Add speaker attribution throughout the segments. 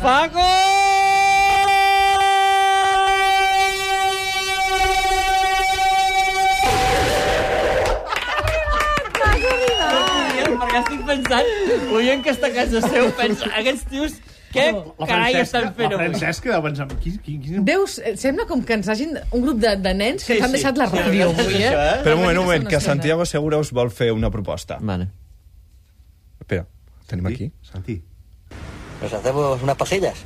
Speaker 1: Paco! M'has Perquè estic pensant, oient que està a casa seu, pensa, aquests tios, què carai estan fent
Speaker 2: la
Speaker 1: avui?
Speaker 2: Francesca deu pensar... Qui, qui, qui...
Speaker 3: Deus, eh, sembla com que ens hagin... Un grup de, de nens que
Speaker 1: Sí,
Speaker 3: sí, han
Speaker 1: sí.
Speaker 3: deixat la
Speaker 1: Sí,
Speaker 3: ràdio
Speaker 1: sí,
Speaker 3: avui,
Speaker 1: sí,
Speaker 3: eh?
Speaker 1: això, eh?
Speaker 4: Espera un moment, un moment,
Speaker 3: Una
Speaker 4: que
Speaker 3: estona.
Speaker 4: Santiago Segura us vol fer una proposta.
Speaker 1: Vale.
Speaker 4: Espera, tenim aquí?
Speaker 2: Santi.
Speaker 5: Nos hacemos unas pasillas.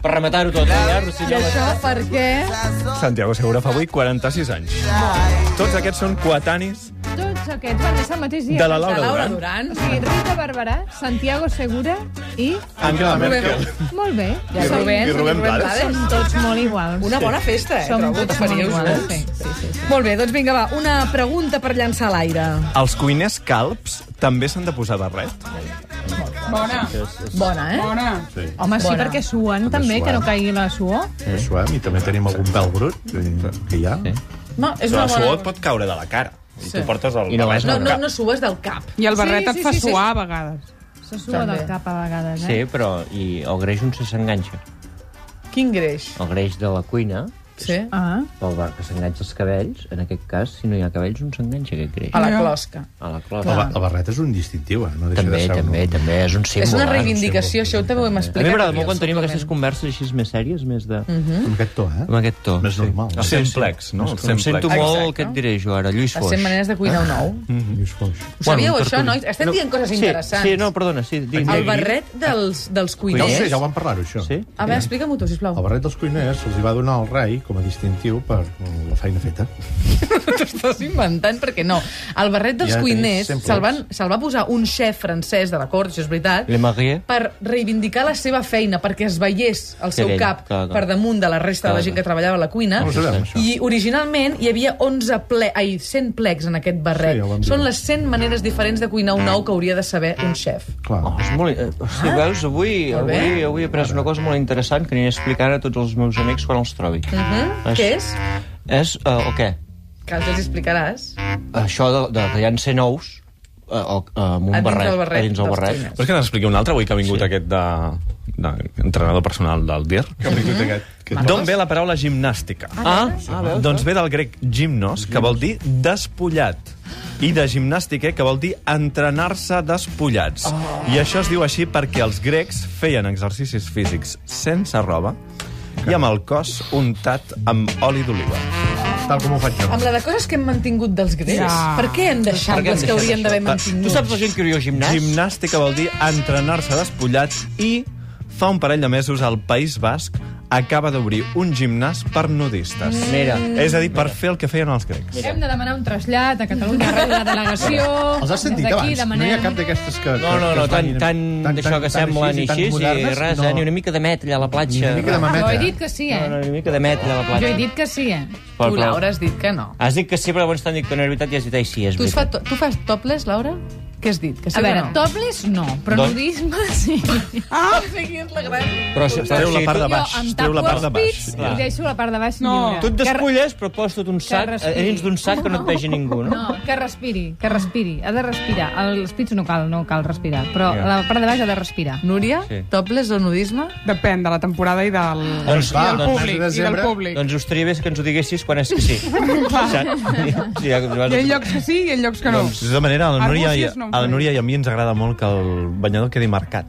Speaker 1: Per rematar-ho tot, eh?
Speaker 3: I
Speaker 1: Rossinyol.
Speaker 3: això perquè...
Speaker 4: Santiago Segura fa avui 46 anys. Tots aquests són coetanis
Speaker 6: Tots aquests van ser el mateix dia.
Speaker 4: de la Laura
Speaker 3: Laura
Speaker 4: Duran.
Speaker 3: Duran.
Speaker 6: O sigui, Rita Barberà, Santiago Segura i...
Speaker 4: Angela Merkel.
Speaker 3: Rubén-
Speaker 6: Molt bé.
Speaker 3: I
Speaker 6: són-
Speaker 3: Rubén,
Speaker 4: i Rubén Blades.
Speaker 6: Són tots molt iguals.
Speaker 3: Una bona festa, eh?
Speaker 6: Som
Speaker 3: trobo,
Speaker 6: tots molt
Speaker 3: t'aferiu-vos.
Speaker 6: iguals, sí.
Speaker 3: Molt bé, doncs vinga, va, una pregunta per llançar a l'aire.
Speaker 4: Els cuiners calps també s'han de posar de red.
Speaker 7: Bona,
Speaker 3: Bona, eh?
Speaker 7: bona.
Speaker 2: Sí.
Speaker 6: Home, sí,
Speaker 3: Bona.
Speaker 6: perquè suen també, que no caigui la suor.
Speaker 2: Eh? Això, eh? I també tenim algun pèl brut que, que hi ha. Sí.
Speaker 3: No, és
Speaker 4: La
Speaker 3: una
Speaker 4: suor
Speaker 3: bona...
Speaker 4: et pot caure de la cara. I
Speaker 3: Sí.
Speaker 4: tu portes el...
Speaker 1: I no vas
Speaker 3: No,
Speaker 4: al
Speaker 3: no,
Speaker 4: cap.
Speaker 3: no sues del cap.
Speaker 7: I el barret
Speaker 3: Sí,
Speaker 7: et
Speaker 3: sí,
Speaker 7: fa
Speaker 3: sí, sí.
Speaker 7: suar a vegades.
Speaker 6: Se sua
Speaker 3: També.
Speaker 6: del cap a vegades,
Speaker 1: Sí,
Speaker 6: eh?
Speaker 1: però i el greix on se s'enganxa?
Speaker 3: Quin greix.
Speaker 1: El greix de la cuina,
Speaker 3: Sí.
Speaker 6: Ah,
Speaker 1: pel bar que s'enganxa els cabells, en aquest cas, si no hi ha cabells, on s'enganxa aquest greix?
Speaker 3: A la closca.
Speaker 1: A la
Speaker 2: La,
Speaker 1: closa.
Speaker 2: ba- la barreta és un distintiu, eh? No deixa Ah,
Speaker 1: També,
Speaker 2: de ser
Speaker 1: també,
Speaker 2: un...
Speaker 1: també, és un símbol.
Speaker 3: És una
Speaker 1: eh?
Speaker 3: reivindicació, això també ho hem
Speaker 1: A mi
Speaker 3: explicat.
Speaker 1: m'agrada
Speaker 3: aquí,
Speaker 1: molt quan
Speaker 3: al
Speaker 1: tenim
Speaker 3: suplement.
Speaker 1: aquestes converses així més sèries, més de...
Speaker 3: Mhm.
Speaker 2: Amb aquest to, eh?
Speaker 1: amb aquest to.
Speaker 2: Més normal.
Speaker 1: Ah,
Speaker 4: El
Speaker 2: Sí,
Speaker 4: sent plex, no? El
Speaker 1: Em
Speaker 4: sent
Speaker 1: sento
Speaker 4: plex.
Speaker 1: molt,
Speaker 3: Exacte.
Speaker 1: què et diré jo ara, Lluís
Speaker 3: Les
Speaker 1: Foix.
Speaker 3: 100 maneres de cuinar
Speaker 1: ah,
Speaker 3: un ou.
Speaker 2: Lluís eh? Foix.
Speaker 3: Ho sabíeu,
Speaker 1: un
Speaker 3: això,
Speaker 1: tertuli-
Speaker 3: nois? Estem dient coses
Speaker 1: sí,
Speaker 3: interessants.
Speaker 1: Sí, no, perdona, sí. Digui,
Speaker 3: El barret dels, dels
Speaker 2: Ja ho
Speaker 3: cuiners...
Speaker 2: sé, ja ho vam parlar, això.
Speaker 1: Sí?
Speaker 3: A veure, explica-m'ho tu,
Speaker 2: El
Speaker 3: sisplau.
Speaker 2: barret dels cuiners se'ls hi va donar al rei com a distintiu per mm, la feina feta.
Speaker 3: T'ho estàs inventant perquè no. El barret dels
Speaker 2: Ja
Speaker 3: ja
Speaker 2: tenim
Speaker 3: cuiners
Speaker 2: sempre.
Speaker 3: se'l van- se'l va posar un xef francès de la cort, això és veritat,
Speaker 1: Le Maguier.
Speaker 3: per reivindicar la seva feina, perquè es veiés el seu
Speaker 1: Era ell,
Speaker 3: cap
Speaker 1: clar, clar.
Speaker 3: per damunt de la resta de
Speaker 1: Clar,
Speaker 3: la gent
Speaker 1: clar.
Speaker 3: que treballava a la cuina.
Speaker 2: No ho sabem, això.
Speaker 3: I originalment hi havia 11 ple... Ai, 100 plecs en aquest
Speaker 2: Sí,
Speaker 3: barret.
Speaker 2: ja ho vam dir.
Speaker 3: Són les 100 maneres diferents de cuinar un ou que hauria de saber un xef.
Speaker 2: Clar.
Speaker 1: Oh, és molt... eh, O sigui, veus, avui,
Speaker 3: Ah. Molt bé.
Speaker 1: avui, avui he après una cosa molt interessant que aniré explicant a tots els meus amics quan els trobi.
Speaker 3: Uh -huh. Què és?
Speaker 1: És, eh, o què?
Speaker 3: Que els explicaràs.
Speaker 1: Això de, de que hi ha 100 ous eh, o- eh, amb un
Speaker 3: Ah. A dins
Speaker 1: barret,
Speaker 3: del barret
Speaker 1: a dins del
Speaker 3: dels
Speaker 1: barret.
Speaker 3: cuiners.
Speaker 4: Vols que n'expliqui un altre avui que ha vingut sí. aquest de d'entrenador personal del DIR. Que ha vingut aquest. D'on ve la paraula gimnàstica?
Speaker 1: Ah, ah, veus?
Speaker 4: Doncs ve del grec gimnos, que vol dir despullat, i de gimnàstica, que vol dir entrenar-se despullats. I això es diu així perquè els grecs feien exercicis físics sense roba i amb el cos untat amb oli d'oliva.
Speaker 2: Tal com ho faig jo.
Speaker 3: Amb la de coses que hem mantingut dels grecs.
Speaker 7: Ja.
Speaker 3: Per què hem deixat
Speaker 1: Per què hem
Speaker 3: les que
Speaker 1: deixat
Speaker 3: haurien
Speaker 1: això?
Speaker 3: d'haver
Speaker 4: Per-
Speaker 3: mantingut?
Speaker 1: Tu saps la gent que hi ha al gimnàs?
Speaker 4: Gimnàstica vol dir entrenar-se despullat i fa un parell de mesos al País Basc acaba d'obrir un gimnàs per nudistes.
Speaker 1: Mira.
Speaker 4: És a dir, per fer el que feien els grecs.
Speaker 6: Hem de demanar un trasllat a Catalunya, a la delegació...
Speaker 2: Els has sentit
Speaker 6: Des d'aquí
Speaker 2: abans? No hi ha cap d'aquestes que...
Speaker 1: No, no, no, tant, tant d'això que semblen i així, i res, eh, ni una mica de metlla a la platja.
Speaker 2: mica de
Speaker 6: Jo he
Speaker 2: mameta.
Speaker 6: dit que sí,
Speaker 1: No,
Speaker 6: eh?
Speaker 1: no, una mica de metlla a la platja.
Speaker 6: Jo he dit que sí, eh?
Speaker 1: Però,
Speaker 3: Tu,
Speaker 1: clar,
Speaker 3: Laura, has dit que no.
Speaker 1: Has dit que sí, però llavors t'han dit que no era veritat i has dit, ai, sí, és
Speaker 3: Tu, es fa
Speaker 1: veritat.
Speaker 3: to tu fas topless, Laura? Què has dit? Que sí
Speaker 6: A
Speaker 3: o
Speaker 6: veure,
Speaker 3: no?
Speaker 6: tobles no, però
Speaker 1: Doncs-
Speaker 6: nudisme sí.
Speaker 3: Ah! és la gran...
Speaker 1: Però, si- però,
Speaker 4: Treu la
Speaker 1: si
Speaker 4: part de
Speaker 1: tu-
Speaker 4: baix,
Speaker 6: Jo em
Speaker 4: treu la
Speaker 6: tapo
Speaker 4: part de
Speaker 6: els
Speaker 4: baix.
Speaker 6: pits
Speaker 1: Clar.
Speaker 6: I deixo la part de baix
Speaker 7: No.
Speaker 6: lliure.
Speaker 1: Tu et
Speaker 6: Que re-
Speaker 1: despulles, però posa un sac eh,
Speaker 6: respiri.
Speaker 1: dins d'un sac que no et vegi ningú, no?
Speaker 6: No, que respiri, que respiri. Ha de respirar. Els pits no cal, no cal respirar, però
Speaker 1: Ja.
Speaker 6: la part de baix ha de respirar.
Speaker 3: Núria, sí.
Speaker 1: Sí.
Speaker 3: topless o nudisme?
Speaker 7: Depèn de la temporada i del,
Speaker 1: Doncs,
Speaker 2: va,
Speaker 1: va,
Speaker 2: el públic.
Speaker 1: doncs,
Speaker 7: públic. I del
Speaker 2: desembre-
Speaker 7: públic.
Speaker 1: doncs us estaria bé que ens ho diguessis quan és que sí. Saps? Sí, ja, vas-
Speaker 7: Hi ha llocs que sí i hi ha llocs que no.
Speaker 4: De tota manera, a la, Núria, i,
Speaker 7: Arbúcies no em
Speaker 4: a la Núria i a mi ens agrada molt que el banyador quedi marcat.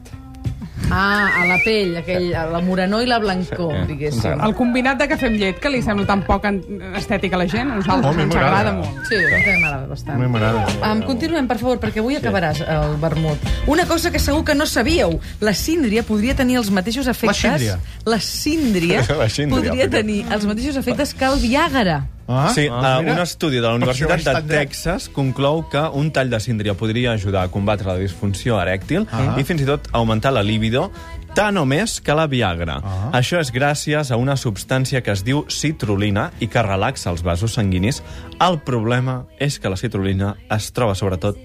Speaker 3: Ah, a la pell, aquell, a la morenor i la blancor,
Speaker 4: Sí.
Speaker 3: diguéssim.
Speaker 7: El combinat de cafè amb llet, que li sembla tan poc en- estètic a la gent, a nosaltres
Speaker 2: Home,
Speaker 7: ens
Speaker 2: m'agrada.
Speaker 7: agrada molt.
Speaker 3: Sí, a mi també m'agrada
Speaker 2: A mi
Speaker 3: bastant.
Speaker 2: m'agrada.
Speaker 3: Um, continuem, per favor, perquè avui acabaràs el vermut. Una cosa que segur que no sabíeu, la síndria podria tenir els mateixos efectes...
Speaker 2: síndria.
Speaker 3: La síndria,
Speaker 4: La síndria,
Speaker 3: podria
Speaker 4: perquè-
Speaker 3: tenir els mateixos efectes que el Viagra.
Speaker 2: Ah,
Speaker 4: sí,
Speaker 2: ah,
Speaker 4: ah,
Speaker 2: mira.
Speaker 4: un estudi de la
Speaker 2: Per
Speaker 4: Universitat
Speaker 2: això vaig
Speaker 4: de
Speaker 2: tan dret.
Speaker 4: Texas conclou que un tall de síndria podria ajudar a combatre la disfunció erèctil
Speaker 2: Ah.
Speaker 4: i fins i tot augmentar la libido tant o més que la Viagra.
Speaker 2: Ah.
Speaker 4: Això és gràcies a una substància que es diu citrulina i que relaxa els vasos sanguinis. El problema és que la citrulina es troba sobretot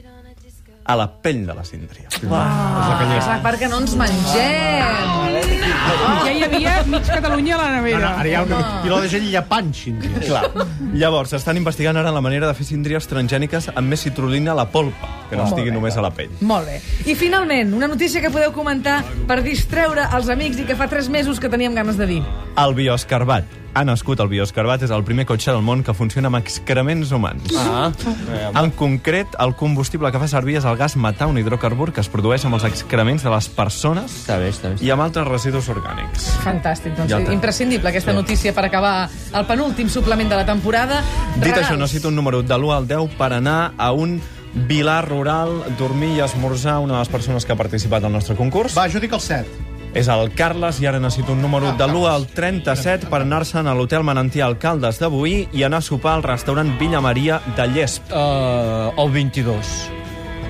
Speaker 4: a la pell de la síndria.
Speaker 3: Ah, és la part que no ens mengem.
Speaker 7: Ja hi havia mig Catalunya a la
Speaker 2: No, no,
Speaker 7: nevera.
Speaker 2: ara hi ha una piló de gent llepant, xindria.
Speaker 4: Clar. Llavors, estan investigant ara la manera de fer síndries transgèniques amb més citrulina a la polpa, que no estigui només a la pell.
Speaker 3: Molt bé. I finalment, una notícia que podeu comentar per distreure els amics i que fa tres mesos que teníem ganes de dir.
Speaker 4: El bioscarbat. Ha nascut el bioscarbat, és el primer cotxe del món que funciona amb excrements humans.
Speaker 1: Ah,
Speaker 4: En concret, el combustible que fa servir és el gas metà, un hidrocarbur que es produeix amb els excrements de les persones
Speaker 1: està bé, està bé.
Speaker 4: i amb altres residus orgànics.
Speaker 3: Fantàstic, doncs
Speaker 4: Ja ho tenim.
Speaker 3: imprescindible aquesta notícia per acabar el penúltim suplement de la temporada.
Speaker 4: Dit
Speaker 3: Regals.
Speaker 4: això, necessito un número de l'1 al 10 per anar a un vilar rural, dormir i esmorzar una de les persones que ha participat al nostre concurs.
Speaker 2: Va, jo dic el 7.
Speaker 4: És el Carles i ara necessito un número de l'1 al 37 per anar-se'n a l'hotel Manantial Caldes de Boí i anar a sopar al restaurant Villa Maria de Llesp.
Speaker 1: Uh, el 22.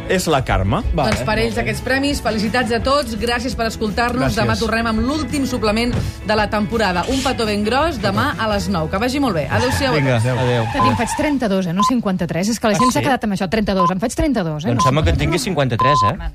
Speaker 4: És la Carme.
Speaker 1: Vale.
Speaker 3: Doncs per ells aquests premis, felicitats a tots, gràcies per escoltar-nos. Demà tornem amb l'últim suplement de la temporada. Un petó ben gros demà a les 9. Que vagi molt bé. Adéu-siau. a
Speaker 1: Vinga, adéu.
Speaker 6: Que en faig 32, eh? no 53. És que la gent s'ha
Speaker 1: sí?
Speaker 6: quedat amb això. 32, en faig 32, eh?
Speaker 1: Doncs
Speaker 6: no
Speaker 1: sembla que en tingui 53, eh?